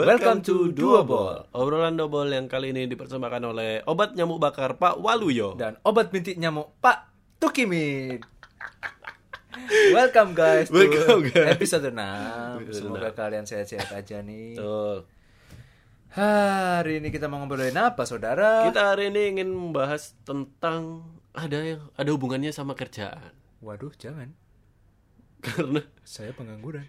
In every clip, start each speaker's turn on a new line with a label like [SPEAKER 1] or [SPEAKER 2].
[SPEAKER 1] Welcome to Duobol, obrolan dobol yang kali ini dipersembahkan oleh obat nyamuk bakar Pak Waluyo.
[SPEAKER 2] dan obat bintik nyamuk Pak Tukimin. Welcome guys to
[SPEAKER 1] Welcome, guys.
[SPEAKER 2] episode 6.
[SPEAKER 1] Episode
[SPEAKER 2] Semoga kalian sehat-sehat aja nih.
[SPEAKER 1] Betul.
[SPEAKER 2] Hari ini kita mau ngobrolin apa saudara?
[SPEAKER 1] Kita hari ini ingin membahas tentang ada yang ada hubungannya sama kerjaan.
[SPEAKER 2] Waduh, jangan.
[SPEAKER 1] Karena
[SPEAKER 2] Saya pengangguran.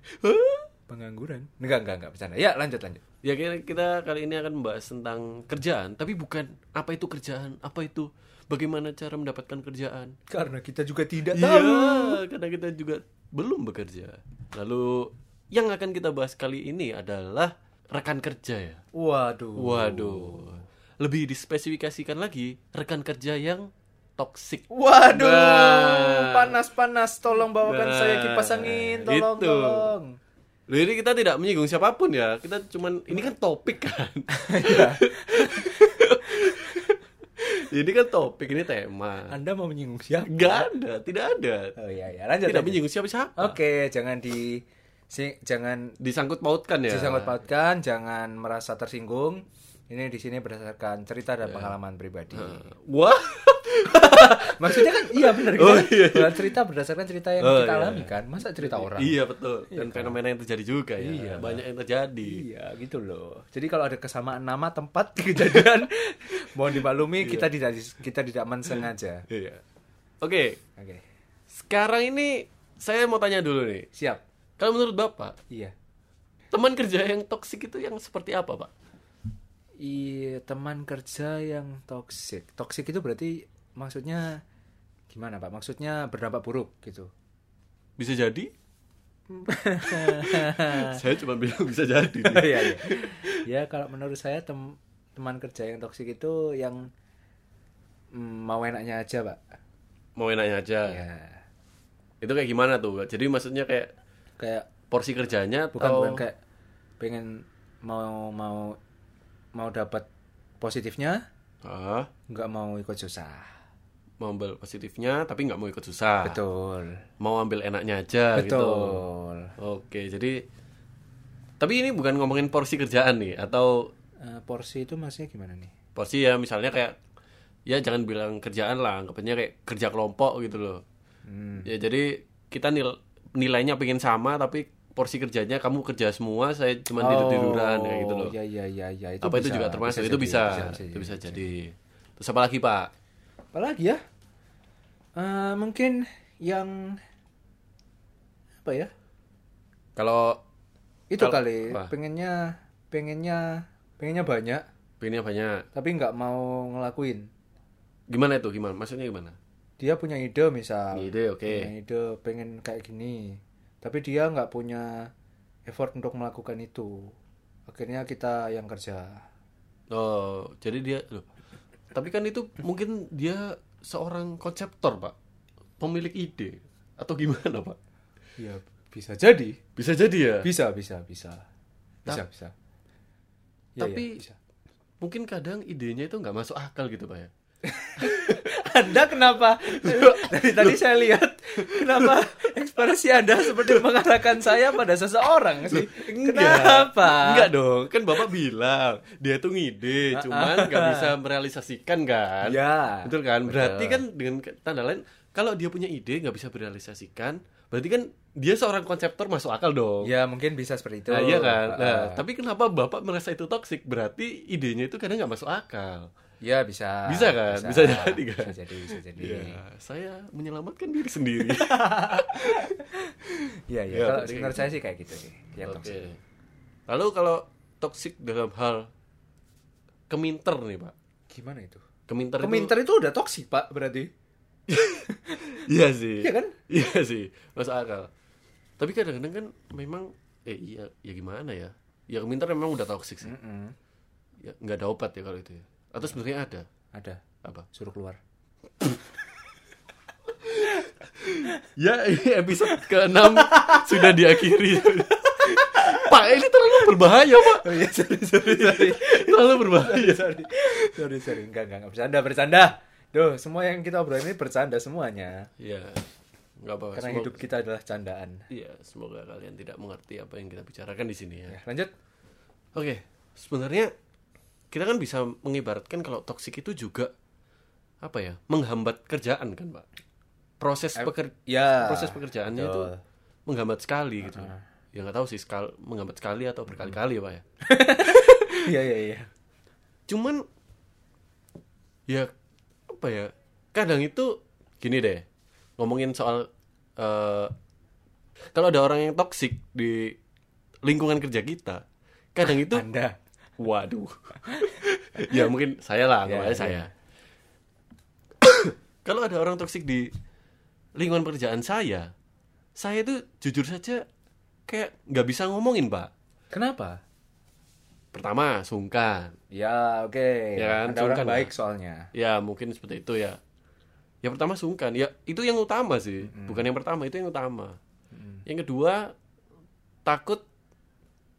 [SPEAKER 2] Pengangguran. Enggak, enggak, enggak bercanda. Ya, lanjut lanjut.
[SPEAKER 1] ya kita- kita kali ini akan membahas tentang kerjaan, tapi bukan apa itu kerjaan, apa itu bagaimana cara mendapatkan kerjaan.
[SPEAKER 2] Karena kita juga tidak
[SPEAKER 1] Iya,
[SPEAKER 2] tahu.
[SPEAKER 1] karena kita juga belum bekerja. Lalu yang akan kita bahas kali ini adalah rekan kerja ya.
[SPEAKER 2] Waduh.
[SPEAKER 1] Waduh. Lebih dispesifikasikan lagi rekan kerja yang toksik.
[SPEAKER 2] Waduh.
[SPEAKER 1] Nah.
[SPEAKER 2] Panas-panas, tolong bawakan
[SPEAKER 1] Nah,
[SPEAKER 2] saya kipas angin, tolong,
[SPEAKER 1] itu.
[SPEAKER 2] tolong.
[SPEAKER 1] Loh, ini kita tidak menyinggung siapapun ya. Kita cuman ini kan topik kan. ini kan topik, ini tema.
[SPEAKER 2] Anda mau menyinggung siapa?
[SPEAKER 1] Enggak ada, tidak ada.
[SPEAKER 2] Oh iya, ya, lanjut.
[SPEAKER 1] Tidak
[SPEAKER 2] lanjut.
[SPEAKER 1] menyinggung siapa-siapa.
[SPEAKER 2] Oke, jangan di si, jangan
[SPEAKER 1] Disangkut pautkan ya.
[SPEAKER 2] disangkut pautkan, jangan merasa tersinggung. Ini di sini berdasarkan cerita
[SPEAKER 1] Iya.
[SPEAKER 2] dan pengalaman pribadi.
[SPEAKER 1] Eh, Wah.
[SPEAKER 2] Maksudnya kan iya benar kan?
[SPEAKER 1] Oh, iya.
[SPEAKER 2] Bukan cerita berdasarkan cerita yang
[SPEAKER 1] Oh, iya.
[SPEAKER 2] kita alami kan. Masa cerita orang?
[SPEAKER 1] Iya betul. Dan fenomena yang terjadi juga ya. Banyak yang terjadi.
[SPEAKER 2] Iya, gitu loh. Jadi kalau ada kesamaan nama tempat kejadian, mohon dimaklumi kita tidak dis- kita tidak mensengaja.
[SPEAKER 1] Iya. Oke,
[SPEAKER 2] Oke.
[SPEAKER 1] sekarang ini saya mau tanya dulu nih.
[SPEAKER 2] Siap.
[SPEAKER 1] Kalau menurut Bapak,
[SPEAKER 2] Iya.
[SPEAKER 1] teman kerja yang toksik itu yang seperti apa, Pak?
[SPEAKER 2] Iya, teman kerja yang toksik. Toksik itu berarti maksudnya gimana, Pak? Maksudnya berdampak buruk gitu.
[SPEAKER 1] Bisa jadi? saya cuma bilang bisa jadi.
[SPEAKER 2] Iya, iya. Ya, kalau menurut saya tem- teman kerja yang toksik itu yang mm, mau enaknya aja, Pak.
[SPEAKER 1] Mau enaknya aja.
[SPEAKER 2] Ya.
[SPEAKER 1] Itu kayak gimana tuh? Pak? Jadi maksudnya kayak
[SPEAKER 2] Kayak
[SPEAKER 1] porsi kerjanya
[SPEAKER 2] bukan
[SPEAKER 1] atau
[SPEAKER 2] bukan kayak pengen mau mau mau dapat positifnya,
[SPEAKER 1] ah,
[SPEAKER 2] nggak mau ikut susah.
[SPEAKER 1] mau ambil positifnya tapi nggak mau ikut susah.
[SPEAKER 2] Ah. Betul.
[SPEAKER 1] Mau ambil enaknya
[SPEAKER 2] Nah,
[SPEAKER 1] aja gitu.
[SPEAKER 2] Betul.
[SPEAKER 1] Oke, jadi tapi ini bukan ngomongin porsi kerjaan nih atau
[SPEAKER 2] Eh, porsi itu maksudnya gimana nih?
[SPEAKER 1] porsi ya misalnya kayak ya jangan bilang kerjaan lah anggapannya kayak kerja kelompok gitu loh
[SPEAKER 2] Hmm.
[SPEAKER 1] ya jadi kita nil- nilainya pengen sama tapi porsi kerjanya kamu kerja semua saya cuma tidur tiduran kayak gitu loh
[SPEAKER 2] Oh, Ya ya ya ya itu
[SPEAKER 1] apa itu
[SPEAKER 2] bisa,
[SPEAKER 1] juga termasuk
[SPEAKER 2] bisa
[SPEAKER 1] itu
[SPEAKER 2] jadi,
[SPEAKER 1] bisa,
[SPEAKER 2] bisa
[SPEAKER 1] itu
[SPEAKER 2] jadi.
[SPEAKER 1] bisa jadi terus apa lagi pak
[SPEAKER 2] Apalagi ya? Eh, mungkin yang apa ya?
[SPEAKER 1] kalau
[SPEAKER 2] Itu
[SPEAKER 1] Kalau-
[SPEAKER 2] kali
[SPEAKER 1] apa?
[SPEAKER 2] pengennya pengennya pengennya banyak
[SPEAKER 1] pengennya banyak
[SPEAKER 2] tapi nggak mau ngelakuin.
[SPEAKER 1] gimana itu gimana maksudnya gimana
[SPEAKER 2] Dia punya ide misal.
[SPEAKER 1] ide oke
[SPEAKER 2] Punya ide pengen kayak gini. Tapi dia nggak punya effort untuk melakukan itu. Akhirnya kita yang kerja.
[SPEAKER 1] oh jadi dia loh. tapi kan itu mungkin dia seorang konseptor pak pemilik ide atau gimana pak
[SPEAKER 2] Ya bisa jadi.
[SPEAKER 1] bisa jadi ya
[SPEAKER 2] Bisa bisa bisa. Bisa bisa. Ya, ya,
[SPEAKER 1] Tapi-
[SPEAKER 2] bisa.
[SPEAKER 1] mungkin kadang idenya itu nggak masuk akal gitu pak ya
[SPEAKER 2] Anda kenapa? Dari tadi saya lihat kenapa ekspresi Anda seperti mengarahkan saya pada seseorang sih. Kenapa?
[SPEAKER 1] Enggak dong kan bapak bilang dia tuh ngide cuman nggak bisa merealisasikan kan
[SPEAKER 2] Ya.
[SPEAKER 1] betul kan berarti kan dengan ke- tanda lain kalau dia punya ide nggak bisa merealisasikan berarti kan dia seorang konseptor masuk akal dong
[SPEAKER 2] Ya mungkin bisa seperti itu.
[SPEAKER 1] Nah, iya kan nah
[SPEAKER 2] Heeh.
[SPEAKER 1] tapi kenapa bapak merasa itu toksik berarti idenya itu kadang nggak masuk akal
[SPEAKER 2] Ya bisa.
[SPEAKER 1] Bisa kan? Bisa jadi kan?
[SPEAKER 2] Bisa jadi, Iya. bisa jadi.
[SPEAKER 1] ya saya menyelamatkan diri sendiri
[SPEAKER 2] Iya, iya.
[SPEAKER 1] Ya,
[SPEAKER 2] Kalau
[SPEAKER 1] berarti
[SPEAKER 2] menurut
[SPEAKER 1] kayak
[SPEAKER 2] saya sih kayak gitu sih. Ya,
[SPEAKER 1] Oke.
[SPEAKER 2] toxic.
[SPEAKER 1] Lalu kalau toksik dalam hal keminter nih pak,
[SPEAKER 2] Gimana itu?
[SPEAKER 1] keminter, itu-
[SPEAKER 2] Keminter itu udah toksik, Pak, berarti.
[SPEAKER 1] iya sih,
[SPEAKER 2] Iya kan?
[SPEAKER 1] iya sih, masuk akal. Tapi kadang-kadang kan memang, eh iya, ya gimana ya? Ya keminter memang udah toksik sih,
[SPEAKER 2] Mm-mm.
[SPEAKER 1] ya, nggak ada obat ya kalau itu. ya. Atau sebenarnya ada
[SPEAKER 2] Ada.
[SPEAKER 1] apa?
[SPEAKER 2] Suruh keluar.
[SPEAKER 1] Ya ini episode ke 6 sudah diakhiri. pak ini terlalu berbahaya pak,
[SPEAKER 2] Oh iya, sorry, sorry, sorry.
[SPEAKER 1] terlalu berbahaya.
[SPEAKER 2] sorry. Sorry, sorry. Enggak, enggak, enggak. Bercanda, bercanda. Duh, semua yang kita obrolin ini bercanda semuanya.
[SPEAKER 1] Iya, nggak apa-apa.
[SPEAKER 2] Karena
[SPEAKER 1] Semoga-
[SPEAKER 2] hidup kita adalah candaan.
[SPEAKER 1] Iya, semoga kalian tidak mengerti apa yang kita bicarakan di sini ya.
[SPEAKER 2] Ya, lanjut.
[SPEAKER 1] Oke, sebenarnya kita kan bisa mengibaratkan kalau toksik itu juga apa ya menghambat kerjaan kan pak proses peker
[SPEAKER 2] ya.
[SPEAKER 1] proses pekerjaannya itu
[SPEAKER 2] Betul.
[SPEAKER 1] menghambat sekali gitu ya nggak tahu sih sekal menghambat sekali atau berkali-kali ya pak ya
[SPEAKER 2] Iya iya iya.
[SPEAKER 1] cuman ya apa ya kadang itu gini deh ngomongin soal eh, kalau ada orang yang toksik di lingkungan kerja kita kadang itu
[SPEAKER 2] Anda.
[SPEAKER 1] Waduh. ya mungkin saya lah,
[SPEAKER 2] Ya,
[SPEAKER 1] anggap aja
[SPEAKER 2] ya.
[SPEAKER 1] saya. Kalau ada orang toksik di lingkungan pekerjaan saya, saya itu jujur saja kayak nggak bisa ngomongin, Pak.
[SPEAKER 2] Kenapa?
[SPEAKER 1] Pertama, sungkan.
[SPEAKER 2] Ya oke.
[SPEAKER 1] Ya kan,
[SPEAKER 2] Anda orang
[SPEAKER 1] sungkan
[SPEAKER 2] baik soalnya.
[SPEAKER 1] Ya, mungkin seperti itu ya. Ya pertama sungkan. Ya, itu yang utama sih. Bukan yang pertama, itu yang utama. Yang kedua, takut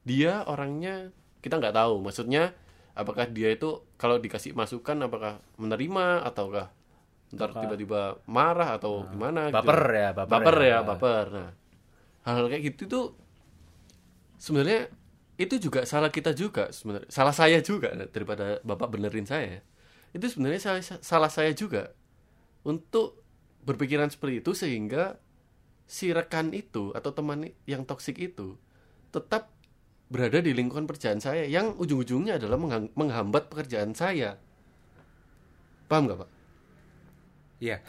[SPEAKER 1] dia orangnya kita nggak tahu. Maksudnya apakah dia itu kalau dikasih masukan apakah menerima ataukah ntar tiba-tiba marah atau gimana gitu.
[SPEAKER 2] Baper ya, baper ya.
[SPEAKER 1] ya, baper. Nah, hal kayak gitu tuh sebenarnya itu juga salah kita juga sebenarnya. Salah saya juga nah, daripada Bapak benerin saya. Itu sebenarnya salah, salah saya juga untuk berpikiran seperti itu sehingga si rekan itu atau teman yang toksik itu tetap berada di lingkungan pekerjaan saya yang ujung-ujungnya adalah menghang- menghambat pekerjaan saya. Paham nggak, Pak?
[SPEAKER 2] Iya.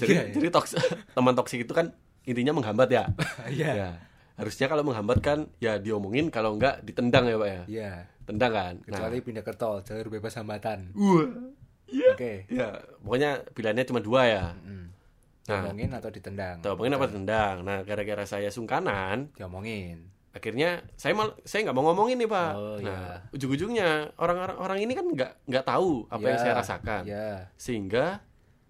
[SPEAKER 1] Jadi,
[SPEAKER 2] Iya, iya.
[SPEAKER 1] jadi toks- teman toksik itu kan intinya menghambat ya.
[SPEAKER 2] Iya.
[SPEAKER 1] Ya. Harusnya kalau menghambat kan ya diomongin kalau enggak ditendang ya, Pak ya.
[SPEAKER 2] Iya.
[SPEAKER 1] Tendang kan. Nah,
[SPEAKER 2] Kecuali pindah ke tol, jalur bebas hambatan.
[SPEAKER 1] wah, iya.
[SPEAKER 2] Oke.
[SPEAKER 1] Ya, pokoknya pilihannya cuma dua ya.
[SPEAKER 2] Mm.
[SPEAKER 1] Nah,
[SPEAKER 2] Diomongin atau ditendang?
[SPEAKER 1] diomongin apa tendang. Nah, gara-gara saya sungkanan,
[SPEAKER 2] Diomongin.
[SPEAKER 1] akhirnya saya mal, saya nggak mau ngomongin nih pak.
[SPEAKER 2] Oh,
[SPEAKER 1] nah ujung-ujungnya orang-orang orang ini kan nggak nggak tahu apa yang
[SPEAKER 2] Ya,
[SPEAKER 1] saya rasakan,
[SPEAKER 2] Ya.
[SPEAKER 1] sehingga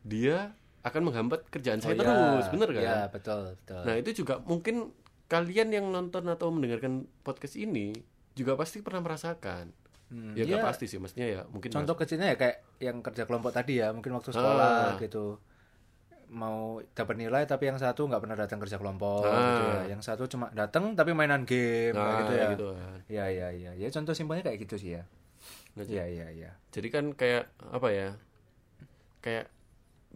[SPEAKER 1] dia akan menghambat kerjaan saya
[SPEAKER 2] Oh, ya.
[SPEAKER 1] terus, bener kan?
[SPEAKER 2] Ya, betul, betul.
[SPEAKER 1] Nah itu juga mungkin kalian yang nonton atau mendengarkan podcast ini juga pasti pernah merasakan.
[SPEAKER 2] Hmm,
[SPEAKER 1] ya nggak
[SPEAKER 2] iya.
[SPEAKER 1] pasti sih, maksudnya ya mungkin.
[SPEAKER 2] Contoh kecilnya ya kayak yang kerja kelompok tadi ya, mungkin waktu sekolah gitu. Mau dapat nilai tapi yang satu nggak pernah datang kerja kelompok gitu ya. Yang satu cuma datang tapi mainan game
[SPEAKER 1] Nah,
[SPEAKER 2] kayak gitu ya.
[SPEAKER 1] gitu kan.
[SPEAKER 2] Ya ya ya. Ya contoh simpelnya kayak gitu sih ya.
[SPEAKER 1] Nah,
[SPEAKER 2] Iya iya iya.
[SPEAKER 1] Jadi kan kayak apa ya? Kayak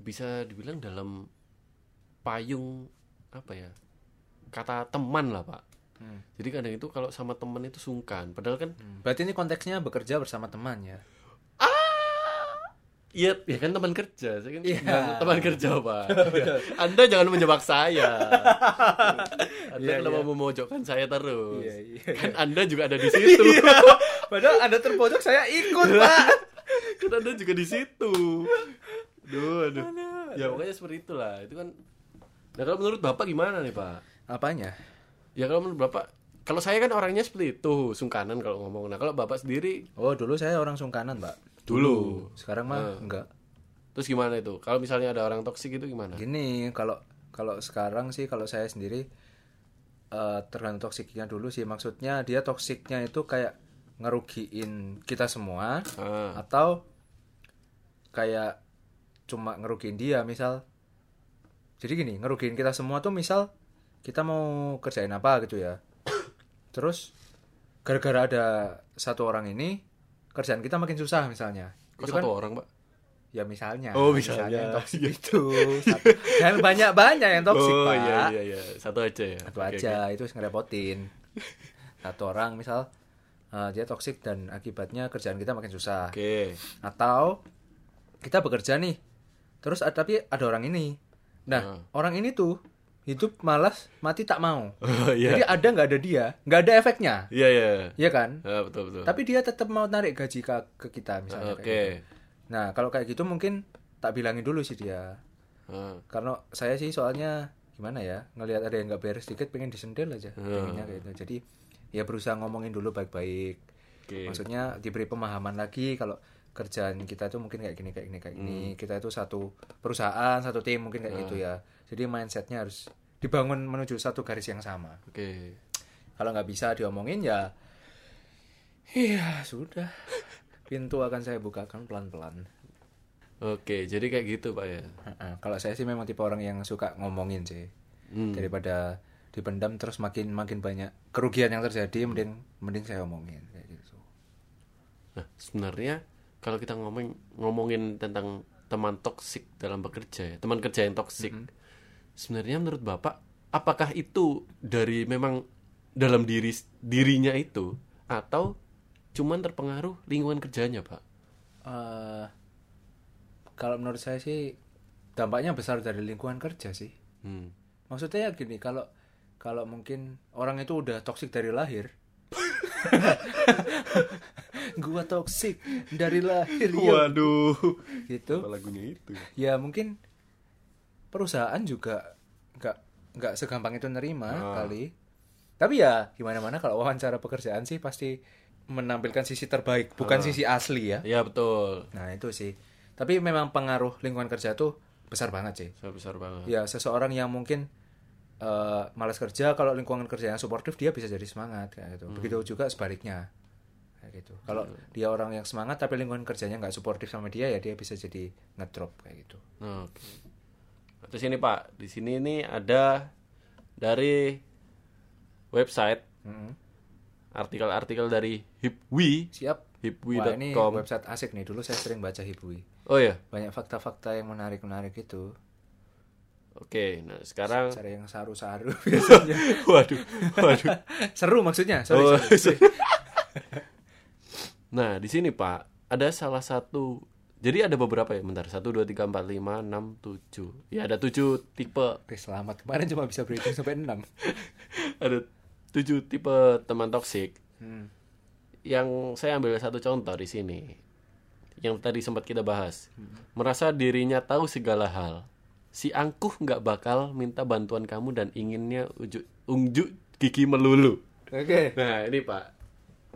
[SPEAKER 1] bisa dibilang dalam payung apa ya? Kata teman lah, Pak.
[SPEAKER 2] Hmm.
[SPEAKER 1] Jadi kadang itu kalau sama teman itu sungkan, padahal kan
[SPEAKER 2] Berarti ini konteksnya bekerja bersama teman ya.
[SPEAKER 1] Iya, ya kan teman kerja, saya kan
[SPEAKER 2] Iya.
[SPEAKER 1] bilang teman kerja pak. Iya. Anda jangan menjebak saya. Anda
[SPEAKER 2] Iya,
[SPEAKER 1] kenapa
[SPEAKER 2] iya.
[SPEAKER 1] memojokkan saya terus?
[SPEAKER 2] Iya, iya,
[SPEAKER 1] Kan Anda juga ada di situ.
[SPEAKER 2] Padahal Anda terpojok saya ikut, Pak.
[SPEAKER 1] kan Anda juga di situ. Duh, aduh. Ya pokoknya seperti itulah. Itu kan. Nah kalau menurut bapak gimana nih pak?
[SPEAKER 2] Apanya?
[SPEAKER 1] Ya kalau menurut bapak, kalau saya kan orangnya seperti itu, sungkanan kalau ngomong. Nah kalau bapak sendiri,
[SPEAKER 2] Oh, dulu saya orang sungkanan, Pak.
[SPEAKER 1] Dulu.
[SPEAKER 2] Sekarang mah enggak.
[SPEAKER 1] terus gimana itu? Kalau misalnya ada orang toksik itu gimana?
[SPEAKER 2] Iya. Gini, kalau kalau sekarang sih kalau saya sendiri eh tergantung toksiknya dulu sih. Maksudnya dia toksiknya itu kayak ngerugiin kita semua
[SPEAKER 1] Ah,
[SPEAKER 2] atau kayak cuma ngerugiin dia misal. Jadi gini, ngerugiin kita semua tuh misal kita mau kerjain apa gitu ya. Terus gara-gara ada satu orang ini kerjaan kita makin susah misalnya.
[SPEAKER 1] kok satu
[SPEAKER 2] kan
[SPEAKER 1] orang pak?
[SPEAKER 2] Ya misalnya.
[SPEAKER 1] Oh, misalnya.
[SPEAKER 2] yang toksik itu. Satu. Dan banyak-banyak yang toksik,
[SPEAKER 1] oh
[SPEAKER 2] Pak.
[SPEAKER 1] iya iya iya satu aja ya
[SPEAKER 2] Satu
[SPEAKER 1] Oke,
[SPEAKER 2] aja itu ngerepotin. Satu orang misal eh, dia toksik dan akibatnya kerjaan kita makin
[SPEAKER 1] oke
[SPEAKER 2] susah.
[SPEAKER 1] Oke.
[SPEAKER 2] Atau kita bekerja nih. Terus ada tapi ada orang ini. Nah,
[SPEAKER 1] Hmm.
[SPEAKER 2] orang ini tuh hidup malas, mati tak mau.
[SPEAKER 1] Oh, iya
[SPEAKER 2] Jadi ada nggak ada dia, nggak ada efeknya.
[SPEAKER 1] iya iya
[SPEAKER 2] Iya kan?
[SPEAKER 1] Ah, betul betul
[SPEAKER 2] Tapi dia tetap mau narik gaji ke, ke kita
[SPEAKER 1] Ah,
[SPEAKER 2] misalnya. kayak
[SPEAKER 1] oke
[SPEAKER 2] gitu. Nah, kalau kayak gitu mungkin tak bilangin dulu sih dia.
[SPEAKER 1] Ah,
[SPEAKER 2] Karena saya sih soalnya gimana ya, ngelihat ada yang nggak beres dikit pengen disentil aja. Pengennya kayak gitu. Jadi ya berusaha ngomongin dulu baik-baik.
[SPEAKER 1] oke
[SPEAKER 2] Maksudnya diberi pemahaman lagi kalau kerjaan kita itu mungkin kayak gini kayak gini kayak gini. Kita itu satu perusahaan, satu tim mungkin kayak gitu ya. Jadi mindsetnya harus dibangun menuju satu garis yang sama.
[SPEAKER 1] oke
[SPEAKER 2] Kalau nggak bisa diomongin ya Iya, sudah. Pintu akan saya bukakan pelan-pelan.
[SPEAKER 1] oke jadi kayak gitu pak ya
[SPEAKER 2] Heeh, Kalau saya sih memang tipe orang yang suka ngomongin sih
[SPEAKER 1] Hmm.
[SPEAKER 2] daripada dipendam terus makin makin banyak kerugian yang terjadi mending mending saya omongin kayak gitu
[SPEAKER 1] Nah, sebenarnya kalau kita ngomong ngomongin tentang teman toksik dalam bekerja ya, teman kerja yang toksik.
[SPEAKER 2] Mm-hmm.
[SPEAKER 1] Sebenarnya menurut Bapak, apakah itu dari memang dalam diri dirinya itu atau cuman terpengaruh lingkungan kerjanya, Pak?
[SPEAKER 2] Eh, kalau menurut saya sih dampaknya besar dari lingkungan kerja sih
[SPEAKER 1] Hmm.
[SPEAKER 2] maksudnya ya gini kalau kalau mungkin orang itu udah toksik dari lahir gua toksik dari lahir yo.
[SPEAKER 1] Waduh.
[SPEAKER 2] gitu
[SPEAKER 1] Iya. lagunya itu?
[SPEAKER 2] ya mungkin perusahaan juga nggak nggak segampang itu nerima kali tapi ya gimana mana kalau wawancara pekerjaan sih pasti menampilkan sisi terbaik bukan sisi asli ya
[SPEAKER 1] Ya betul.
[SPEAKER 2] nah itu sih tapi memang pengaruh lingkungan kerja tuh besar banget sih
[SPEAKER 1] Saya besar banget.
[SPEAKER 2] ya seseorang yang mungkin eh, malas kerja kalau lingkungan kerja yang suportif dia bisa jadi semangat kayak gitu begitu juga sebaliknya kayak gitu kalau dia orang yang semangat tapi lingkungan kerjanya nggak suportif sama dia ya dia bisa jadi ngedrop kayak gitu
[SPEAKER 1] Nah, Oke. Terus ini Pak, di sini ini ada dari website
[SPEAKER 2] Mm-mm.
[SPEAKER 1] artikel-artikel dari HipWi
[SPEAKER 2] siap Wah, ini
[SPEAKER 1] hipwi.com.
[SPEAKER 2] website asik nih dulu saya sering baca hibui
[SPEAKER 1] Oh ya,
[SPEAKER 2] banyak fakta-fakta yang menarik-menarik itu
[SPEAKER 1] Oke, nah sekarang
[SPEAKER 2] cara yang saru-saru biasanya
[SPEAKER 1] waduh, waduh.
[SPEAKER 2] seru maksudnya sorry,
[SPEAKER 1] Oh,
[SPEAKER 2] sorry.
[SPEAKER 1] nah, di sini Pak, ada salah satu jadi ada beberapa ya, bentar. 1 2 3 4 5 6 7. Ya ada 7 tipe.
[SPEAKER 2] Oke, selamat kemarin cuma bisa berhitung sampai 6
[SPEAKER 1] Ada 7 tipe teman toksik. Yang saya ambil satu contoh di sini. Yang tadi sempat kita bahas. Merasa dirinya tahu segala hal. Si angkuh nggak bakal minta bantuan kamu dan inginnya ujuk unjuk gigi melulu.
[SPEAKER 2] oke
[SPEAKER 1] Nah ini pak,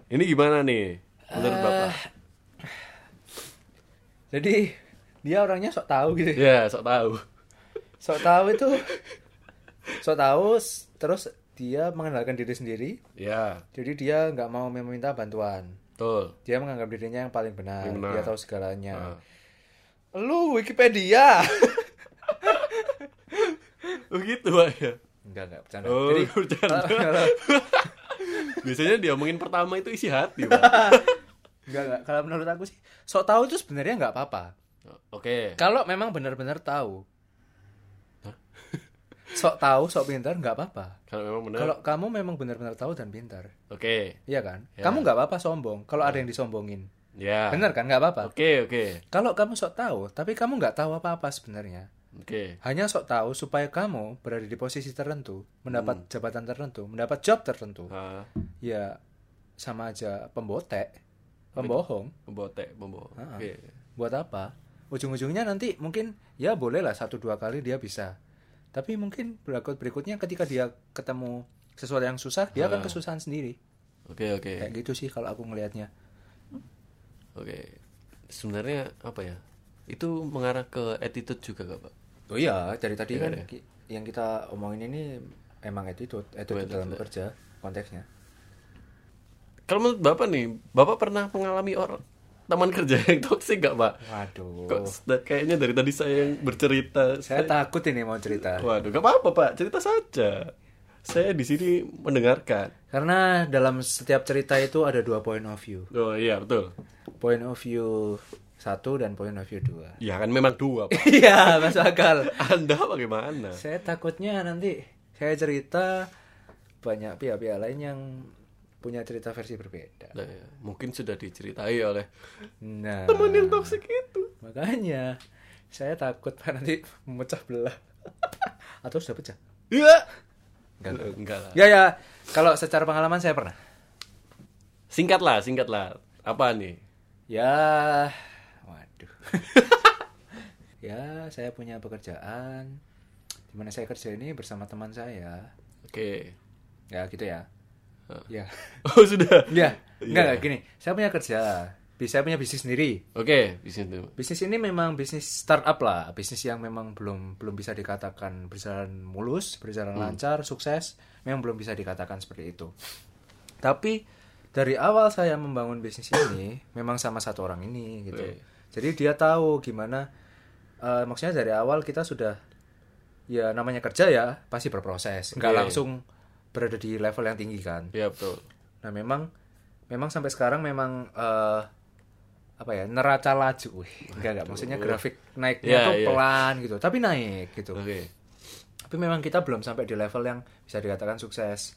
[SPEAKER 1] ini gimana nih menurut bapak?
[SPEAKER 2] Eh. jadi dia orangnya sok tahu gitu
[SPEAKER 1] Ya sok tahu.
[SPEAKER 2] sok tahu itu sok tahu s- terus dia mengenalkan diri sendiri
[SPEAKER 1] Ya,
[SPEAKER 2] jadi dia nggak mau meminta bantuan
[SPEAKER 1] betul. Ah.
[SPEAKER 2] dia menganggap dirinya yang paling benar,
[SPEAKER 1] Yang benar.
[SPEAKER 2] dia tahu segalanya lu Wikipedia
[SPEAKER 1] Begitu pak ya.
[SPEAKER 2] enggak enggak bercanda
[SPEAKER 1] Oh,
[SPEAKER 2] Nah, jadi
[SPEAKER 1] bercanda.
[SPEAKER 2] kalau-
[SPEAKER 1] Biasanya diomongin pertama itu isi hati pak.
[SPEAKER 2] enggak enggak kalau menurut aku sih sok tahu itu sebenarnya nggak apa-apa
[SPEAKER 1] Oke.
[SPEAKER 2] kalau memang benar-benar tahu sok tahu sok pintar nggak apa-apa
[SPEAKER 1] Kalau memang benar.
[SPEAKER 2] kalau kamu memang benar-benar tahu dan pintar
[SPEAKER 1] Oke.
[SPEAKER 2] iya kan kamu nggak apa-apa sombong kalau ada yang disombongin
[SPEAKER 1] Ya.
[SPEAKER 2] benar kan nggak apa-apa
[SPEAKER 1] Oke oke
[SPEAKER 2] Kalau kamu sok tahu, tapi kamu nggak tahu apa-apa sebenarnya.
[SPEAKER 1] oke.
[SPEAKER 2] Hanya sok tahu supaya kamu berada di posisi tertentu, mendapat jabatan tertentu, mendapat job tertentu.
[SPEAKER 1] Ah,
[SPEAKER 2] Ya sama aja pembotek, pembohong.
[SPEAKER 1] botek bobo. Oke.
[SPEAKER 2] Buat apa? Ujung-ujungnya nanti mungkin ya bolehlah satu dua kali dia bisa. Tapi mungkin berikut berikutnya ketika dia ketemu sesuatu yang susah, dia akan kesusahan sendiri.
[SPEAKER 1] Oke oke
[SPEAKER 2] Kayak gitu sih kalau aku ngelihatnya.
[SPEAKER 1] oke. Sebenarnya apa ya? Itu mengarah ke attitude juga gak pak?
[SPEAKER 2] Oh iya, dari tadi kan ki- yang kita omongin ini emang attitude, attitude dalam bekerja konteksnya.
[SPEAKER 1] Kalau menurut bapak nih, bapak pernah mengalami orang teman kerja yang toksik gak pak?
[SPEAKER 2] Waduh,
[SPEAKER 1] Kok seda- kayaknya dari tadi saya yang bercerita.
[SPEAKER 2] saya takut ini mau cerita.
[SPEAKER 1] Waduh, gak apa-apa Pak, cerita saja. Saya di sini mendengarkan.
[SPEAKER 2] Karena dalam setiap cerita itu ada dua point of view.
[SPEAKER 1] Oh iya betul.
[SPEAKER 2] Point of view satu dan point of view dua.
[SPEAKER 1] Ya kan memang dua Pak.
[SPEAKER 2] Iya, masuk akal.
[SPEAKER 1] Anda bagaimana?
[SPEAKER 2] Saya takutnya nanti saya cerita banyak pihak-pihak lain yang punya cerita versi berbeda.
[SPEAKER 1] Nah, ya, mungkin sudah diceritai oleh Ah.
[SPEAKER 2] Nah,
[SPEAKER 1] teman yang toksik itu.
[SPEAKER 2] makanya saya takut nanti memecah belah. Atau sudah pecah?
[SPEAKER 1] Ya. Enggak, lah.
[SPEAKER 2] Ya ya, kalau secara pengalaman saya pernah.
[SPEAKER 1] Singkatlah, singkatlah. Apa nih?
[SPEAKER 2] Ya, waduh. ya, saya punya pekerjaan di mana saya kerja ini bersama teman saya.
[SPEAKER 1] Oke.
[SPEAKER 2] Ya, gitu ya. Ya.
[SPEAKER 1] Oh sudah.
[SPEAKER 2] Ya, enggak enggak, gini. Saya punya kerja. Bis- Saya punya bisnis sendiri.
[SPEAKER 1] Oke, di situ.
[SPEAKER 2] Bisnis ini memang bisnis startup lah, bisnis yang memang belum belum bisa dikatakan berjalan mulus, berjalan lancar, sukses, memang belum bisa dikatakan seperti itu. Tapi dari awal saya membangun bisnis ini memang sama satu orang ini gitu. Jadi dia tahu gimana eh, maksudnya dari awal kita sudah ya namanya kerja ya pasti berproses nggak
[SPEAKER 1] Iya, iya.
[SPEAKER 2] langsung berada di level yang tinggi kan
[SPEAKER 1] Iya betul.
[SPEAKER 2] nah memang memang sampai sekarang memang eh, apa ya neraca laju Wih, nggak nggak maksudnya grafik naiknya
[SPEAKER 1] Iya,
[SPEAKER 2] tuh
[SPEAKER 1] iya.
[SPEAKER 2] pelan gitu tapi naik gitu
[SPEAKER 1] Oke.
[SPEAKER 2] tapi memang kita belum sampai di level yang bisa dikatakan sukses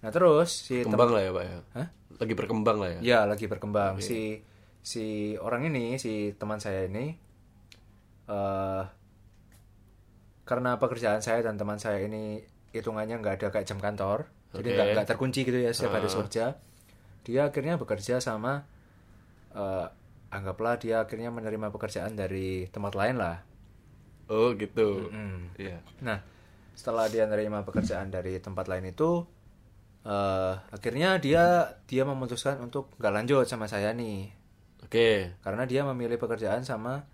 [SPEAKER 2] nah terus si tem-
[SPEAKER 1] Berkembang lah ya pak ya.
[SPEAKER 2] Hah?
[SPEAKER 1] Lagi berkembang lah ya.
[SPEAKER 2] ya lagi berkembang si si orang ini si teman saya ini eh karena pekerjaan saya dan teman saya ini hitungannya nggak ada kayak jam kantor jadi
[SPEAKER 1] Oke.
[SPEAKER 2] nggak nggak terkunci gitu ya setiap hari kerja dia akhirnya bekerja sama eh anggaplah dia akhirnya menerima pekerjaan dari tempat lain lah
[SPEAKER 1] Oh gitu.
[SPEAKER 2] Mm.
[SPEAKER 1] Iya.
[SPEAKER 2] Nah, setelah dia nerima pekerjaan dari tempat lain itu, eh, akhirnya dia dia memutuskan untuk nggak lanjut sama saya nih,
[SPEAKER 1] Oke.
[SPEAKER 2] karena dia memilih pekerjaan sama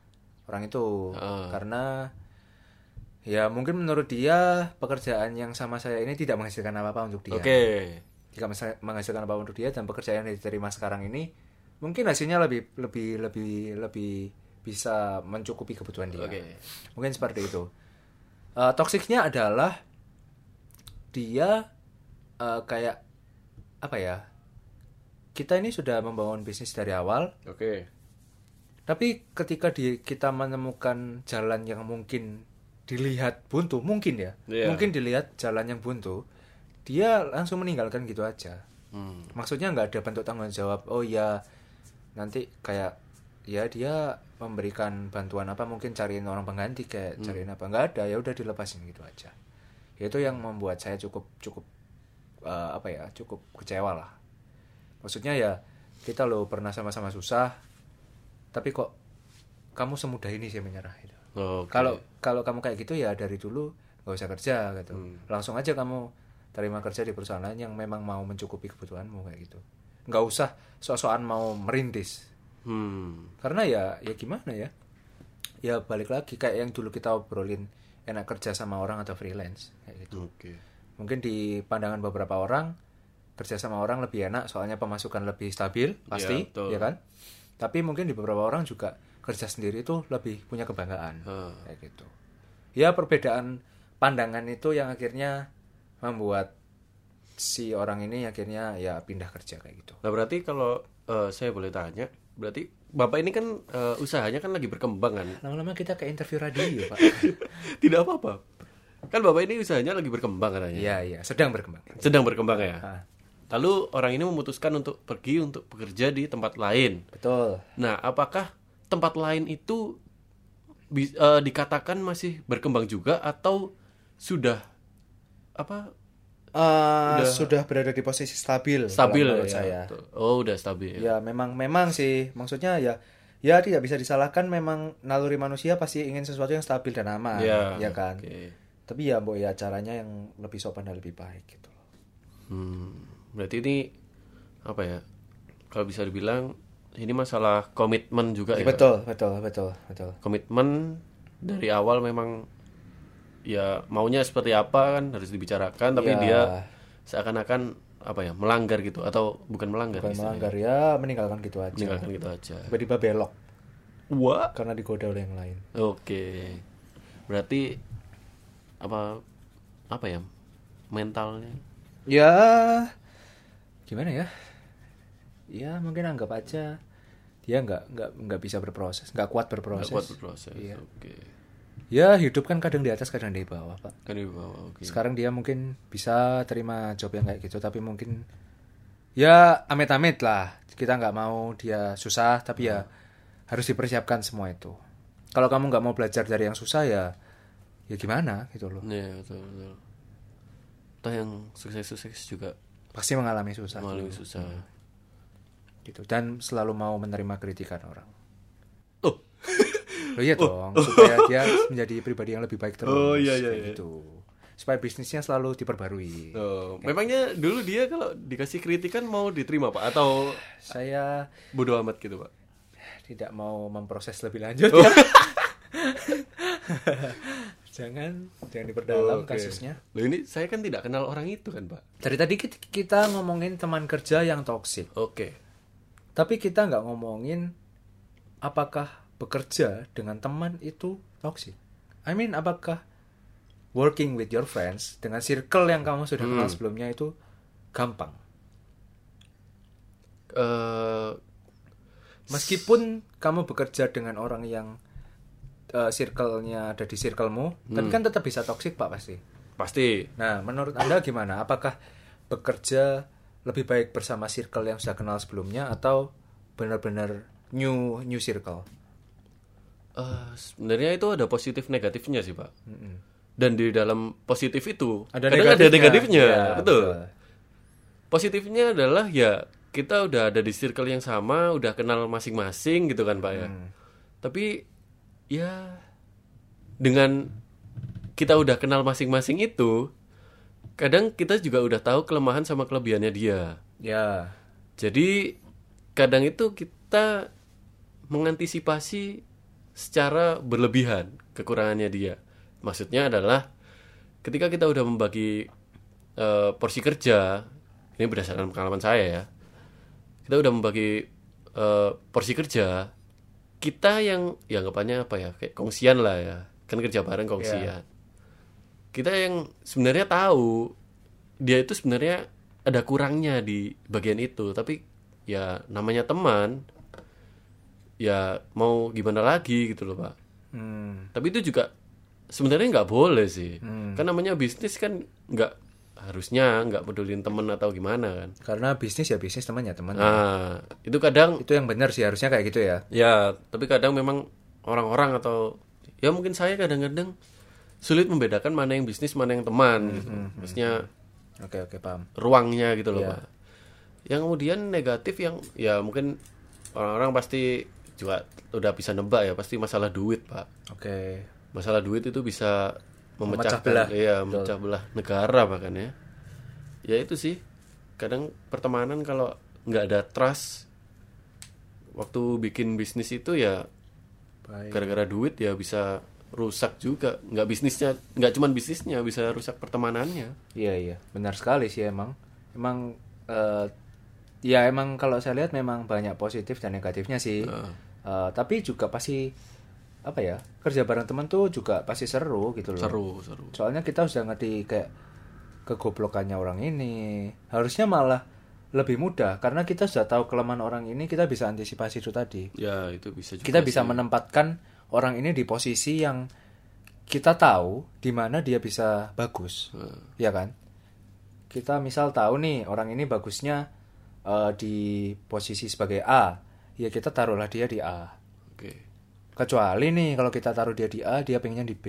[SPEAKER 2] orang itu,
[SPEAKER 1] Ah.
[SPEAKER 2] karena ya mungkin menurut dia pekerjaan yang sama saya ini tidak menghasilkan apa-apa untuk dia,
[SPEAKER 1] Oke.
[SPEAKER 2] tidak menghasil- menghasilkan apa untuk dia dan pekerjaan yang diterima sekarang ini mungkin hasilnya lebih lebih lebih lebih bisa mencukupi kebutuhan dia
[SPEAKER 1] Oke.
[SPEAKER 2] mungkin seperti itu Eh toksiknya adalah dia eh, kayak apa ya kita ini sudah membangun bisnis dari awal
[SPEAKER 1] Oke.
[SPEAKER 2] tapi ketika di kita menemukan jalan yang mungkin dilihat buntu mungkin ya
[SPEAKER 1] Iya.
[SPEAKER 2] mungkin dilihat jalan yang buntu dia langsung meninggalkan gitu aja
[SPEAKER 1] Hmm.
[SPEAKER 2] maksudnya nggak ada bentuk tanggung jawab oh ya nanti kayak ya dia memberikan bantuan apa mungkin cariin orang pengganti kayak cariin apa nggak ada ya udah dilepasin gitu aja itu yang membuat saya cukup cukup eh, apa ya cukup kecewa lah maksudnya ya kita loh pernah sama-sama susah tapi kok kamu semudah ini sih menyerah gitu
[SPEAKER 1] Oke.
[SPEAKER 2] kalau kalau kamu kayak gitu ya dari dulu nggak usah kerja gitu langsung aja kamu terima kerja di perusahaan lain yang memang mau mencukupi kebutuhanmu kayak gitu nggak usah sok-sokan mau merintis
[SPEAKER 1] Hmm.
[SPEAKER 2] karena ya ya gimana ya ya balik lagi kayak yang dulu kita obrolin enak kerja sama orang atau freelance kayak gitu
[SPEAKER 1] Oke.
[SPEAKER 2] mungkin di pandangan beberapa orang kerja sama orang lebih enak soalnya pemasukan lebih stabil
[SPEAKER 1] Iya,
[SPEAKER 2] pasti
[SPEAKER 1] betul.
[SPEAKER 2] ya kan tapi mungkin di beberapa orang juga kerja sendiri itu lebih punya kebanggaan
[SPEAKER 1] Ah.
[SPEAKER 2] kayak gitu ya perbedaan pandangan itu yang akhirnya membuat si orang ini akhirnya ya pindah kerja kayak gitu
[SPEAKER 1] Nah berarti kalau eh, saya boleh tanya, berarti bapak ini kan eh, usahanya kan lagi berkembang kan?
[SPEAKER 2] lama-lama kita ke interview radio pak
[SPEAKER 1] Tidak apa-apa. Kan bapak ini usahanya lagi berkembang katanya.
[SPEAKER 2] iya iya sedang berkembang
[SPEAKER 1] Sedang berkembang ya.
[SPEAKER 2] Ah.
[SPEAKER 1] Lalu orang ini memutuskan untuk pergi untuk bekerja di tempat lain.
[SPEAKER 2] betul
[SPEAKER 1] Nah, apakah tempat lain itu bi- eh, dikatakan masih berkembang juga atau sudah apa
[SPEAKER 2] Ah, sudah berada di posisi stabil
[SPEAKER 1] stabil
[SPEAKER 2] kalau
[SPEAKER 1] ya?
[SPEAKER 2] menurut saya
[SPEAKER 1] Betul. Oh, udah stabil.
[SPEAKER 2] Ya memang memang sih maksudnya ya ya tidak bisa disalahkan memang naluri manusia pasti ingin sesuatu yang stabil dan aman ya kan.
[SPEAKER 1] oke.
[SPEAKER 2] Tapi ya mbok ya caranya yang lebih sopan dan lebih baik gitu loh.
[SPEAKER 1] Hmm, berarti ini apa ya? Kalau bisa dibilang ini masalah komitmen juga ya.
[SPEAKER 2] Betul, betul, betul, betul.
[SPEAKER 1] Komitmen dari
[SPEAKER 2] Hmm.
[SPEAKER 1] awal memang ya maunya seperti apa kan harus dibicarakan tapi
[SPEAKER 2] Ya.
[SPEAKER 1] dia seakan-akan apa ya melanggar gitu atau bukan melanggar
[SPEAKER 2] Bukan
[SPEAKER 1] istilahnya.
[SPEAKER 2] melanggar ya meninggalkan gitu aja.
[SPEAKER 1] meninggalkan gitu aja.
[SPEAKER 2] Tiba-tiba belok
[SPEAKER 1] Wah.
[SPEAKER 2] karena digoda oleh yang lain.
[SPEAKER 1] Oke. Berarti apa apa ya? Mentalnya.
[SPEAKER 2] Ya gimana ya? Ya mungkin anggap aja dia nggak nggak nggak bisa berproses, nggak kuat
[SPEAKER 1] nggak
[SPEAKER 2] berproses.
[SPEAKER 1] kuat berproses.
[SPEAKER 2] Iya.
[SPEAKER 1] Oke.
[SPEAKER 2] Ya hidup kan kadang di atas, kadang di bawah, Pak.
[SPEAKER 1] Kan di bawah. Oke.
[SPEAKER 2] sekarang dia mungkin bisa terima job yang kayak gitu tapi mungkin ya amit-amit lah kita nggak mau dia susah tapi ya harus dipersiapkan semua itu kalau kamu nggak mau belajar dari yang susah ya ya gimana gitu loh
[SPEAKER 1] Iya, betul betul. Toh yang sukses-sukses juga
[SPEAKER 2] pasti mengalami susah
[SPEAKER 1] mengalami susah.
[SPEAKER 2] gitu dan selalu mau menerima kritikan orang
[SPEAKER 1] Oh.
[SPEAKER 2] Loh iya dong supaya dia menjadi pribadi yang lebih baik terus
[SPEAKER 1] Oh, iya, iya, Oh.
[SPEAKER 2] kayak
[SPEAKER 1] iya.
[SPEAKER 2] gitu supaya bisnisnya selalu diperbarui
[SPEAKER 1] memangnya dulu dia kalau dikasih kritikan mau diterima Pak atau
[SPEAKER 2] saya
[SPEAKER 1] bodoh amat gitu Pak?
[SPEAKER 2] tidak mau memproses lebih lanjut
[SPEAKER 1] Oh.
[SPEAKER 2] ya. jangan jangan
[SPEAKER 1] Oh,
[SPEAKER 2] diperdalam
[SPEAKER 1] Oke.
[SPEAKER 2] kasusnya.
[SPEAKER 1] Loh ini saya kan tidak kenal orang itu kan Pak.
[SPEAKER 2] Dari tadi kit- kita ngomongin teman kerja yang toksik,
[SPEAKER 1] Oke.
[SPEAKER 2] tapi kita nggak ngomongin apakah bekerja dengan teman itu toksik. I mean apakah working with your friends dengan circle yang kamu sudah kenal sebelumnya itu gampang.
[SPEAKER 1] eh
[SPEAKER 2] Meskipun kamu bekerja dengan orang yang eh, circle-nya ada di circlemu, tapi kan tetap bisa toksik pak pasti.
[SPEAKER 1] pasti
[SPEAKER 2] Nah, menurut anda gimana? Apakah bekerja lebih baik bersama circle yang sudah kenal sebelumnya atau benar-benar new new circle?
[SPEAKER 1] eh, sebenarnya itu ada positif negatifnya sih pak dan di dalam positif itu
[SPEAKER 2] Ada
[SPEAKER 1] kadang ada negatifnya
[SPEAKER 2] Iya,
[SPEAKER 1] betul positifnya adalah ya kita udah ada di circle yang sama, udah kenal masing-masing gitu kan pak ya. Tapi ya dengan kita udah kenal masing-masing itu, kadang kita juga udah tahu kelemahan sama kelebihannya dia.
[SPEAKER 2] Ya,
[SPEAKER 1] Jadi kadang itu kita mengantisipasi secara berlebihan kekurangannya dia. Maksudnya adalah ketika kita udah membagi eh, porsi kerja, ini berdasarkan pengalaman saya ya. Kita udah membagi eh, porsi kerja, kita yang ya anggapannya apa ya kayak kongsian lah ya. Kan kerja bareng kongsian. Kita yang sebenarnya tahu dia itu sebenarnya ada kurangnya di bagian itu tapi ya namanya teman ya mau gimana lagi gitu loh pak
[SPEAKER 2] Hmm,
[SPEAKER 1] tapi itu juga sebenarnya nggak boleh sih kan namanya bisnis kan nggak harusnya nggak pedulin temen atau gimana kan
[SPEAKER 2] karena bisnis ya bisnis teman ya teman.
[SPEAKER 1] nah itu kadang
[SPEAKER 2] Itu yang benar sih harusnya kayak gitu ya.
[SPEAKER 1] ya tapi kadang memang orang-orang atau ya mungkin saya kadang-kadang sulit membedakan mana yang bisnis mana yang teman gitu. maksudnya
[SPEAKER 2] Oke oke paham.
[SPEAKER 1] ruangnya gitu
[SPEAKER 2] Iya.
[SPEAKER 1] loh pak. Yang kemudian negatif yang ya mungkin orang-orang pasti juga udah bisa nebak ya pasti masalah duit pak.
[SPEAKER 2] Oke.
[SPEAKER 1] Masalah duit itu bisa memecah
[SPEAKER 2] Memecah belah.
[SPEAKER 1] iya memecah belah negara bahkan ya. Ya itu sih kadang pertemanan kalau nggak ada trust waktu bikin bisnis itu ya
[SPEAKER 2] Baik.
[SPEAKER 1] gara-gara duit ya bisa rusak juga nggak bisnisnya nggak cuman bisnisnya bisa rusak pertemanannya
[SPEAKER 2] Iya iya, benar sekali sih emang. Emang eh, ya emang kalau saya lihat memang banyak positif dan negatifnya sih. Eh, tapi juga pasti apa ya? Kerja bareng teman tuh juga pasti seru gitu loh.
[SPEAKER 1] seru seru
[SPEAKER 2] Soalnya kita sudah ngerti kayak kegoblokannya orang ini. Harusnya malah lebih mudah karena kita sudah tahu kelemahan orang ini, kita bisa antisipasi itu tadi.
[SPEAKER 1] ya itu bisa juga
[SPEAKER 2] Kita bisa menempatkan orang ini di posisi yang kita tahu di mana dia bisa bagus. Iya kan? Kita misal tahu nih orang ini bagusnya eh, di posisi sebagai A, ya kita taruhlah dia di A.
[SPEAKER 1] Oke.
[SPEAKER 2] Kecuali nih kalau kita taruh dia di A, dia pengennya di B.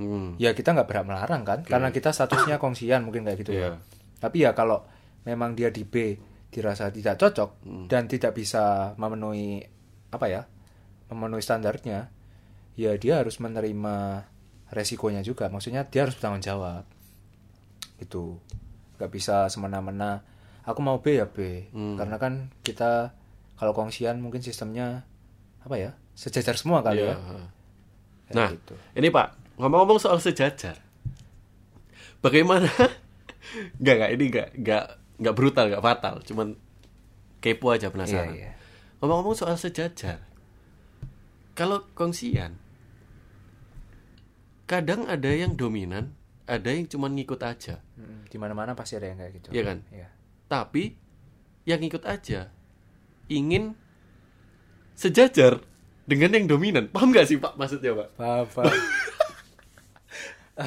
[SPEAKER 1] Hmm.
[SPEAKER 2] Ya kita nggak berhak melarang kan, karena kita statusnya kongsian mungkin kayak gitu.
[SPEAKER 1] Iya.
[SPEAKER 2] ya. Tapi ya kalau memang dia di B dirasa tidak cocok
[SPEAKER 1] Hmm.
[SPEAKER 2] dan tidak bisa memenuhi apa ya, memenuhi standarnya, ya dia harus menerima resikonya juga. Maksudnya dia harus bertanggung jawab. Itu nggak bisa semena-mena. Aku mau B ya B,
[SPEAKER 1] Hmm.
[SPEAKER 2] karena kan kita kalau kongsian mungkin sistemnya apa ya, sejajar semua kali
[SPEAKER 1] Iya.
[SPEAKER 2] ya. Kayak
[SPEAKER 1] Nah,
[SPEAKER 2] gitu.
[SPEAKER 1] ini Pak, ngomong-ngomong soal sejajar. Bagaimana? Enggak, enggak, ini enggak enggak enggak brutal, enggak fatal, cuman kepo aja penasaran.
[SPEAKER 2] Iya, iya.
[SPEAKER 1] Ngomong-ngomong soal sejajar. Kalau kongsian kadang ada yang dominan, ada yang cuman ngikut aja.
[SPEAKER 2] Mm, Di mana-mana pasti ada yang kayak gitu.
[SPEAKER 1] Iya kan?
[SPEAKER 2] Iya.
[SPEAKER 1] Tapi yang ngikut aja ingin sejajar dengan yang dominan. Paham nggak sih Pak maksudnya Pak?
[SPEAKER 2] Paham, paham.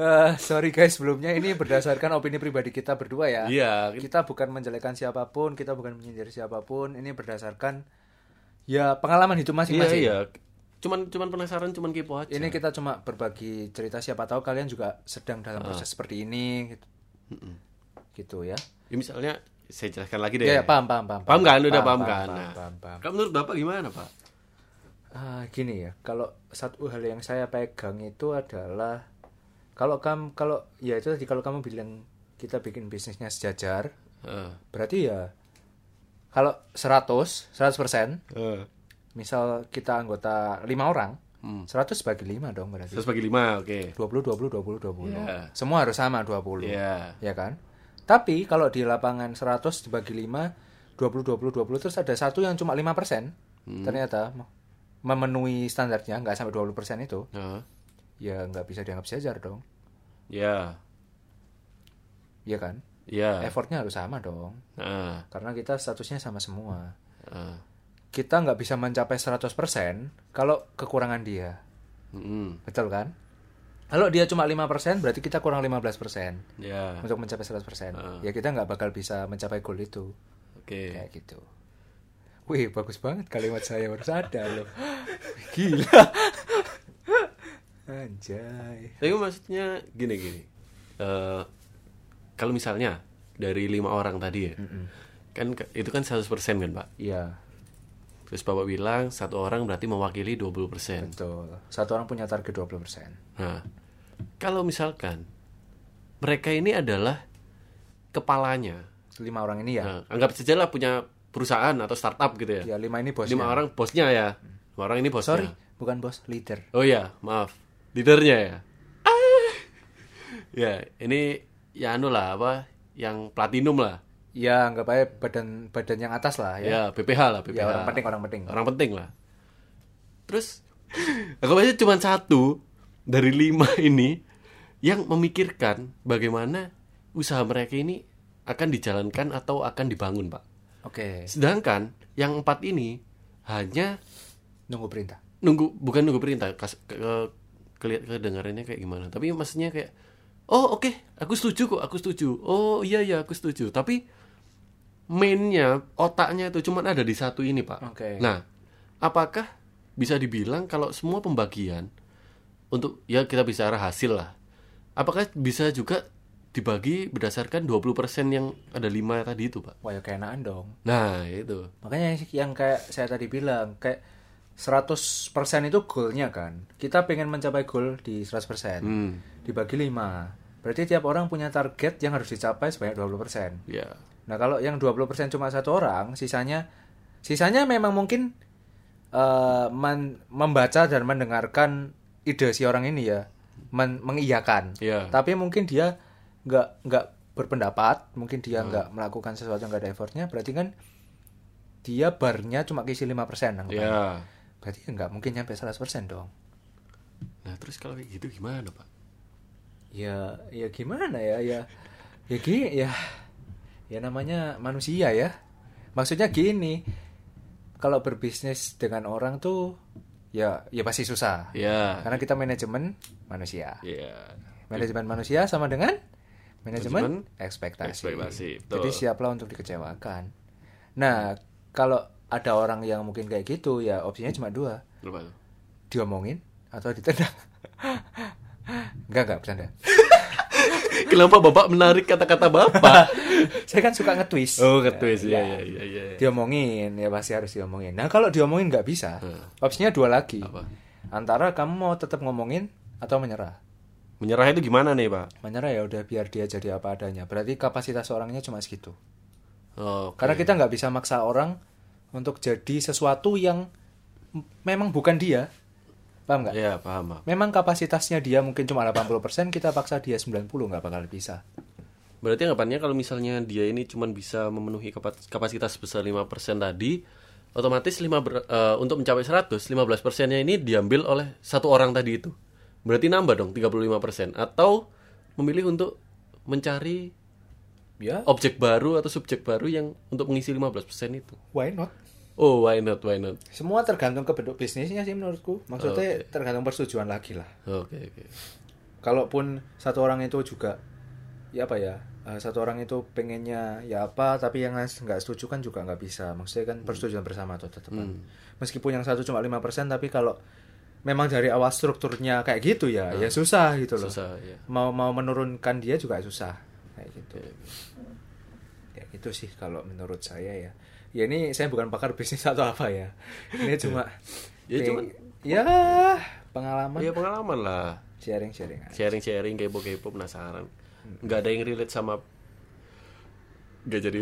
[SPEAKER 2] Eh, sorry guys, sebelumnya ini berdasarkan opini pribadi kita berdua ya.
[SPEAKER 1] Iya,
[SPEAKER 2] Kita bukan menjelekkan siapapun, kita bukan menyindir siapapun. Ini berdasarkan ya pengalaman hidup
[SPEAKER 1] Iya
[SPEAKER 2] masing-masing.
[SPEAKER 1] iya. Cuman cuman penasaran, cuman kepo aja.
[SPEAKER 2] Ini kita cuma berbagi cerita siapa tahu kalian juga sedang
[SPEAKER 1] Ah.
[SPEAKER 2] dalam proses seperti ini gitu. Gitu ya.
[SPEAKER 1] Ya, misalnya saya jelaskan lagi deh.
[SPEAKER 2] Ya, ya, paham, paham, paham.
[SPEAKER 1] Iya, Paham kan? Udah paham, kan? Nah,
[SPEAKER 2] paham, paham.
[SPEAKER 1] kalau menurut Bapak gimana, Pak?
[SPEAKER 2] Ah, gini ya, kalau satu hal yang saya pegang itu adalah kalau kamu kalau ya itu tadi kalau kamu bilang kita bikin bisnisnya sejajar,
[SPEAKER 1] Heeh.
[SPEAKER 2] berarti ya kalau 100, 100%,
[SPEAKER 1] eh,
[SPEAKER 2] misal kita anggota 5 orang,
[SPEAKER 1] Hmm.
[SPEAKER 2] 100 bagi 5 dong berarti.
[SPEAKER 1] Terus bagi lima, oke.
[SPEAKER 2] 20 20 20 20.
[SPEAKER 1] Iya.
[SPEAKER 2] Semua harus sama 20.
[SPEAKER 1] Iya.
[SPEAKER 2] Ya kan? Tapi kalau di lapangan 100 dibagi 5 20 20 20 terus ada satu yang cuma
[SPEAKER 1] Hmm. Nah,
[SPEAKER 2] 5% ternyata memenuhi standarnya nggak sampai 20% itu
[SPEAKER 1] Heeh.
[SPEAKER 2] ya nggak bisa dianggap sejajar dong
[SPEAKER 1] Ya,
[SPEAKER 2] Iya kan
[SPEAKER 1] ya.
[SPEAKER 2] effortnya harus sama dong
[SPEAKER 1] Nah,
[SPEAKER 2] karena kita statusnya sama semua
[SPEAKER 1] ah.
[SPEAKER 2] kita nggak bisa mencapai 100% kalau kekurangan dia
[SPEAKER 1] Mm-mm.
[SPEAKER 2] betul kan kalau dia cuma 5% berarti kita kurang 15%
[SPEAKER 1] Ya, Ah.
[SPEAKER 2] untuk mencapai 100% ya kita nggak bakal bisa mencapai goal itu
[SPEAKER 1] oke.
[SPEAKER 2] kayak gitu wih bagus banget kalimat saya baru sadar loh gila anjay
[SPEAKER 1] Tapi maksudnya gini gini. Eh, kalau misalnya dari lima orang tadi ya, kan ke- itu kan 100% kan pak.
[SPEAKER 2] iya
[SPEAKER 1] Terus bapak bilang satu orang berarti mewakili 20%.
[SPEAKER 2] betul satu orang punya target 20%
[SPEAKER 1] Nah, kalau misalkan mereka ini adalah kepalanya,
[SPEAKER 2] lima orang ini ya
[SPEAKER 1] nah, anggap saja lah punya perusahaan atau startup gitu ya.
[SPEAKER 2] ya lima Iya. ini bosnya
[SPEAKER 1] Lima orang bosnya ya, lima orang ini bosnya.
[SPEAKER 2] sorry bukan bos leader
[SPEAKER 1] Oh ya, maaf. Leadernya ya. Ah. ya, ini ya anu lah apa yang platinum lah.
[SPEAKER 2] ya nggak aja badan badan yang atas lah ya,
[SPEAKER 1] Ya, PPH lah,
[SPEAKER 2] ya,
[SPEAKER 1] PPH.
[SPEAKER 2] orang penting orang penting
[SPEAKER 1] Orang penting lah. Terus aku aja cuma satu dari lima ini yang memikirkan bagaimana usaha mereka ini akan dijalankan atau akan dibangun, Pak.
[SPEAKER 2] oke
[SPEAKER 1] Sedangkan yang empat ini hanya
[SPEAKER 2] nunggu perintah
[SPEAKER 1] nunggu bukan nunggu perintah kas, ke, ke, keli- kedengarannya kayak gimana tapi maksudnya kayak oh oke aku setuju kok aku setuju oh iya iya aku setuju tapi mainnya otaknya itu cuma ada di satu ini pak
[SPEAKER 2] Oke.
[SPEAKER 1] nah apakah bisa dibilang kalau semua pembagian untuk ya kita bisa arah hasil lah apakah bisa juga dibagi berdasarkan 20% yang ada lima tadi itu pak
[SPEAKER 2] wah ya keenaan dong
[SPEAKER 1] nah itu
[SPEAKER 2] Makanya yang kayak saya tadi bilang, kayak 100% itu goalnya kan. Kita pengen mencapai goal di 100%.
[SPEAKER 1] hmm
[SPEAKER 2] Dibagi 5. Berarti tiap orang punya target yang harus dicapai sebanyak 20%.
[SPEAKER 1] ya
[SPEAKER 2] Nah, kalau yang 20% cuma satu orang, sisanya sisanya memang mungkin eh, men- membaca dan mendengarkan ide si orang ini ya, men- mengiyakan.
[SPEAKER 1] ya
[SPEAKER 2] Tapi mungkin dia nggak nggak berpendapat, mungkin dia nggak melakukan sesuatu yang nggak ada effortnya, berarti kan dia barnya cuma kisi 5% persen,
[SPEAKER 1] ya
[SPEAKER 2] berarti ya nggak mungkin nyampe 100% dong.
[SPEAKER 1] nah terus kalau kayak gitu gimana pak
[SPEAKER 2] Ya, ya gimana ya, ya, ya gi- ya, ya namanya manusia ya. Maksudnya gini, kalau berbisnis dengan orang tuh, ya, ya pasti susah.
[SPEAKER 1] Ya.
[SPEAKER 2] Karena kita manajemen manusia.
[SPEAKER 1] Ya.
[SPEAKER 2] Manajemen manusia sama dengan manajemen ekspektasi.
[SPEAKER 1] ekspektasi, betul.
[SPEAKER 2] Jadi siaplah untuk dikecewakan. Nah, kalau ada orang yang mungkin kayak gitu, ya opsinya cuma dua,
[SPEAKER 1] Lupa tuh.
[SPEAKER 2] diomongin atau ditendang. enggak enggak bercanda.
[SPEAKER 1] Kenapa Bapak menarik kata-kata Bapak?
[SPEAKER 2] Saya kan suka nge-twist. Iya,
[SPEAKER 1] oh, ketuis. Ya, ya, ya, ya. ya.
[SPEAKER 2] Diomongin, ya pasti harus diomongin. Nah, kalau diomongin nggak bisa, opsinya dua lagi.
[SPEAKER 1] Apa?
[SPEAKER 2] Antara kamu mau tetap ngomongin atau menyerah.
[SPEAKER 1] Menyerah itu gimana nih, Pak?
[SPEAKER 2] Menyerah ya udah biar dia jadi apa adanya. Berarti kapasitas orangnya cuma segitu.
[SPEAKER 1] Oh,
[SPEAKER 2] Karena kita nggak bisa maksa orang untuk jadi sesuatu yang m- memang bukan dia. Paham nggak?
[SPEAKER 1] ya, paham, Pak.
[SPEAKER 2] Memang kapasitasnya dia mungkin cuma 80%, kita paksa dia 90 nggak bakal bisa.
[SPEAKER 1] Berarti anggapannya kalau misalnya dia ini cuma bisa memenuhi kapas- kapasitas sebesar 5% tadi, otomatis 5 ber- eh, untuk mencapai 100, 15%-nya ini diambil oleh satu orang tadi itu. Berarti nambah dong 35% atau memilih untuk mencari
[SPEAKER 2] Ya,
[SPEAKER 1] objek baru atau subjek baru yang untuk mengisi 15% itu.
[SPEAKER 2] why not?
[SPEAKER 1] Oh, why not, why not.
[SPEAKER 2] Semua tergantung ke bentuk bisnisnya sih menurutku. Maksudnya tergantung persetujuan lagi lah.
[SPEAKER 1] Oke, oke.
[SPEAKER 2] Kalaupun satu orang itu juga ya apa ya? eh, Satu orang itu pengennya ya apa, tapi yang lain nggak setuju kan juga nggak bisa. Maksudnya kan persetujuan bersama tuh tetap. kan. Meskipun yang satu cuma 5%, tapi kalau memang dari awal strukturnya kayak gitu ya, ya susah gitu loh.
[SPEAKER 1] Susah ya.
[SPEAKER 2] mau mau menurunkan dia juga susah kayak gitu ya itu sih kalau menurut saya ya ya ini saya bukan pakar bisnis atau apa ya ini cuma
[SPEAKER 1] Ya, cuman-
[SPEAKER 2] ya pengalaman
[SPEAKER 1] Ya pengalaman lah.
[SPEAKER 2] sharing sharing aja.
[SPEAKER 1] Sharing-sharing kepo-kepo penasaran. Nggak ada yang relate sama nggak jadi.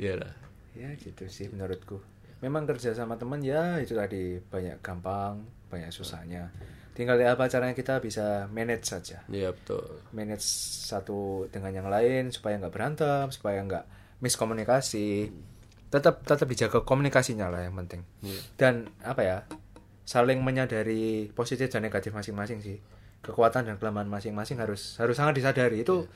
[SPEAKER 1] Iya lah.
[SPEAKER 2] ya gitu sih menurutku memang kerja sama teman ya itu tadi banyak gampang banyak susahnya tinggal lihat apa caranya kita bisa manage saja
[SPEAKER 1] Iya betul.
[SPEAKER 2] manage satu dengan yang lain supaya nggak berantem supaya nggak miskomunikasi tetap tetap dijaga komunikasinya lah yang penting
[SPEAKER 1] Iya.
[SPEAKER 2] dan apa ya saling menyadari positif dan negatif masing-masing sih kekuatan dan kelemahan masing-masing harus harus sangat disadari itu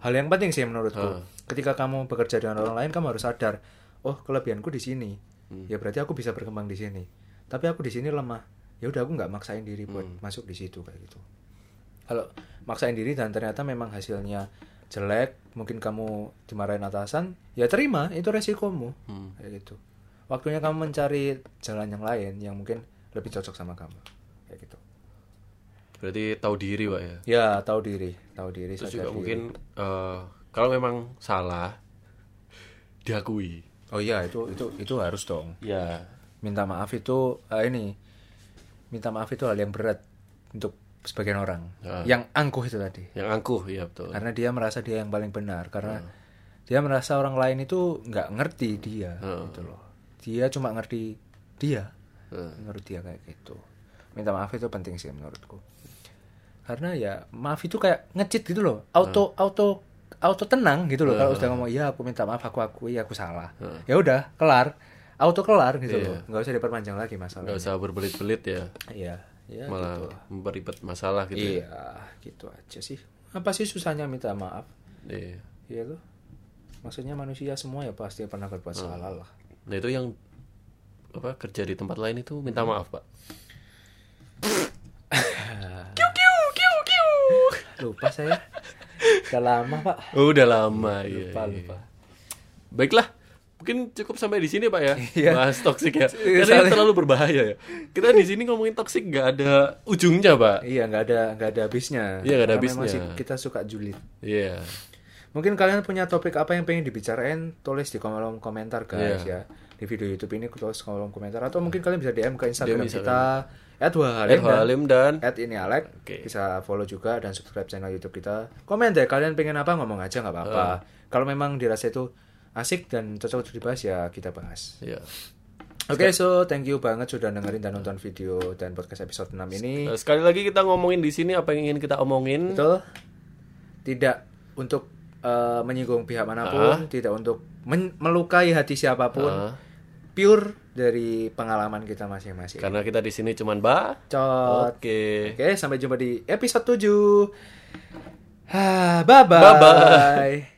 [SPEAKER 2] hal yang penting sih menurutku ketika kamu bekerja dengan orang lain kamu harus sadar oh kelebihanku di sini ya berarti aku bisa berkembang di sini tapi aku di sini lemah ya udah aku nggak maksain diri buat masuk di situ kayak gitu kalau maksain diri dan ternyata memang hasilnya jelek mungkin kamu dimarahin atasan ya terima itu resikomu
[SPEAKER 1] Hmm.
[SPEAKER 2] kayak gitu waktunya kamu mencari jalan yang lain yang mungkin lebih cocok sama kamu kayak gitu
[SPEAKER 1] Berarti tahu diri, Pak ya.
[SPEAKER 2] ya tahu diri tahu diri
[SPEAKER 1] Terus juga
[SPEAKER 2] sadar diri.
[SPEAKER 1] mungkin eh, kalau memang salah diakui.
[SPEAKER 2] oh iya itu itu itu harus dong
[SPEAKER 1] Ya.
[SPEAKER 2] minta maaf itu eh, ini minta maaf itu hal yang berat untuk sebagian orang yang angkuh itu tadi
[SPEAKER 1] Yang angkuh, ya betul.
[SPEAKER 2] karena dia merasa dia yang paling benar karena dia merasa orang lain itu nggak ngerti dia
[SPEAKER 1] Eh,
[SPEAKER 2] gitu loh dia cuma ngerti dia menurut dia kayak gitu minta maaf itu penting sih menurutku karena ya maaf itu kayak ngecit gitu loh auto auto auto tenang gitu loh kalau udah ngomong iya aku minta maaf aku aku iya aku salah ya udah kelar auto kelar gitu loh nggak usah diperpanjang lagi masalah
[SPEAKER 1] Gak usah berbelit-belit ya.
[SPEAKER 2] iya iya
[SPEAKER 1] Malah memperibet masalah gitu.
[SPEAKER 2] iya gitu aja sih apa sih susahnya minta maaf
[SPEAKER 1] Iya.
[SPEAKER 2] Iya tuh. Maksudnya manusia semua ya pasti pernah berbuat salah lah.
[SPEAKER 1] Nah, itu yang apa kerja di tempat lain itu minta
[SPEAKER 2] Iya.
[SPEAKER 1] maaf, Pak.
[SPEAKER 2] Lupa saya. Udah lama pak.
[SPEAKER 1] Udah lama ya.
[SPEAKER 2] Lupa lupa.
[SPEAKER 1] Baiklah, mungkin cukup sampai di sini Pak ya.
[SPEAKER 2] Iya.
[SPEAKER 1] Bahas toksik ya. Karena ini terlalu berbahaya ya. Kita di sini ngomongin toksik nggak ada ujungnya, Pak.
[SPEAKER 2] Iya nggak ada nggak ada habisnya.
[SPEAKER 1] Iya, nggak ada
[SPEAKER 2] Karena memang
[SPEAKER 1] habisnya.
[SPEAKER 2] sih kita suka julid.
[SPEAKER 1] Iya.
[SPEAKER 2] Mungkin kalian punya topik apa yang pengen dibicarain, tulis di kolom komentar guys ya. Di video YouTube ini tulis kolom komentar atau mungkin kalian bisa DM ke Instagram kita @wahalim
[SPEAKER 1] Erva
[SPEAKER 2] dan
[SPEAKER 1] Halim dan
[SPEAKER 2] at ini Alek
[SPEAKER 1] Oke.
[SPEAKER 2] bisa follow juga dan subscribe channel YouTube kita komen deh kalian pengen apa ngomong aja nggak apa-apa kalau memang dirasa itu asik dan cocok untuk dibahas ya kita bahas
[SPEAKER 1] Iya.
[SPEAKER 2] oke so thank you banget sudah dengerin dan nonton video dan podcast episode 6 ini
[SPEAKER 1] Nah, Sekali lagi kita ngomongin di sini apa yang ingin kita omongin.
[SPEAKER 2] betul tidak untuk eh, menyinggung
[SPEAKER 1] Ah.
[SPEAKER 2] pihak manapun tidak untuk men- melukai hati siapapun pure dari pengalaman kita masing-masing
[SPEAKER 1] Karena kita di sini cuman Pak.
[SPEAKER 2] Cot.
[SPEAKER 1] Oke.
[SPEAKER 2] Ah, Oke, sampai jumpa di episode 7. Bye bye.
[SPEAKER 1] Bye-bye.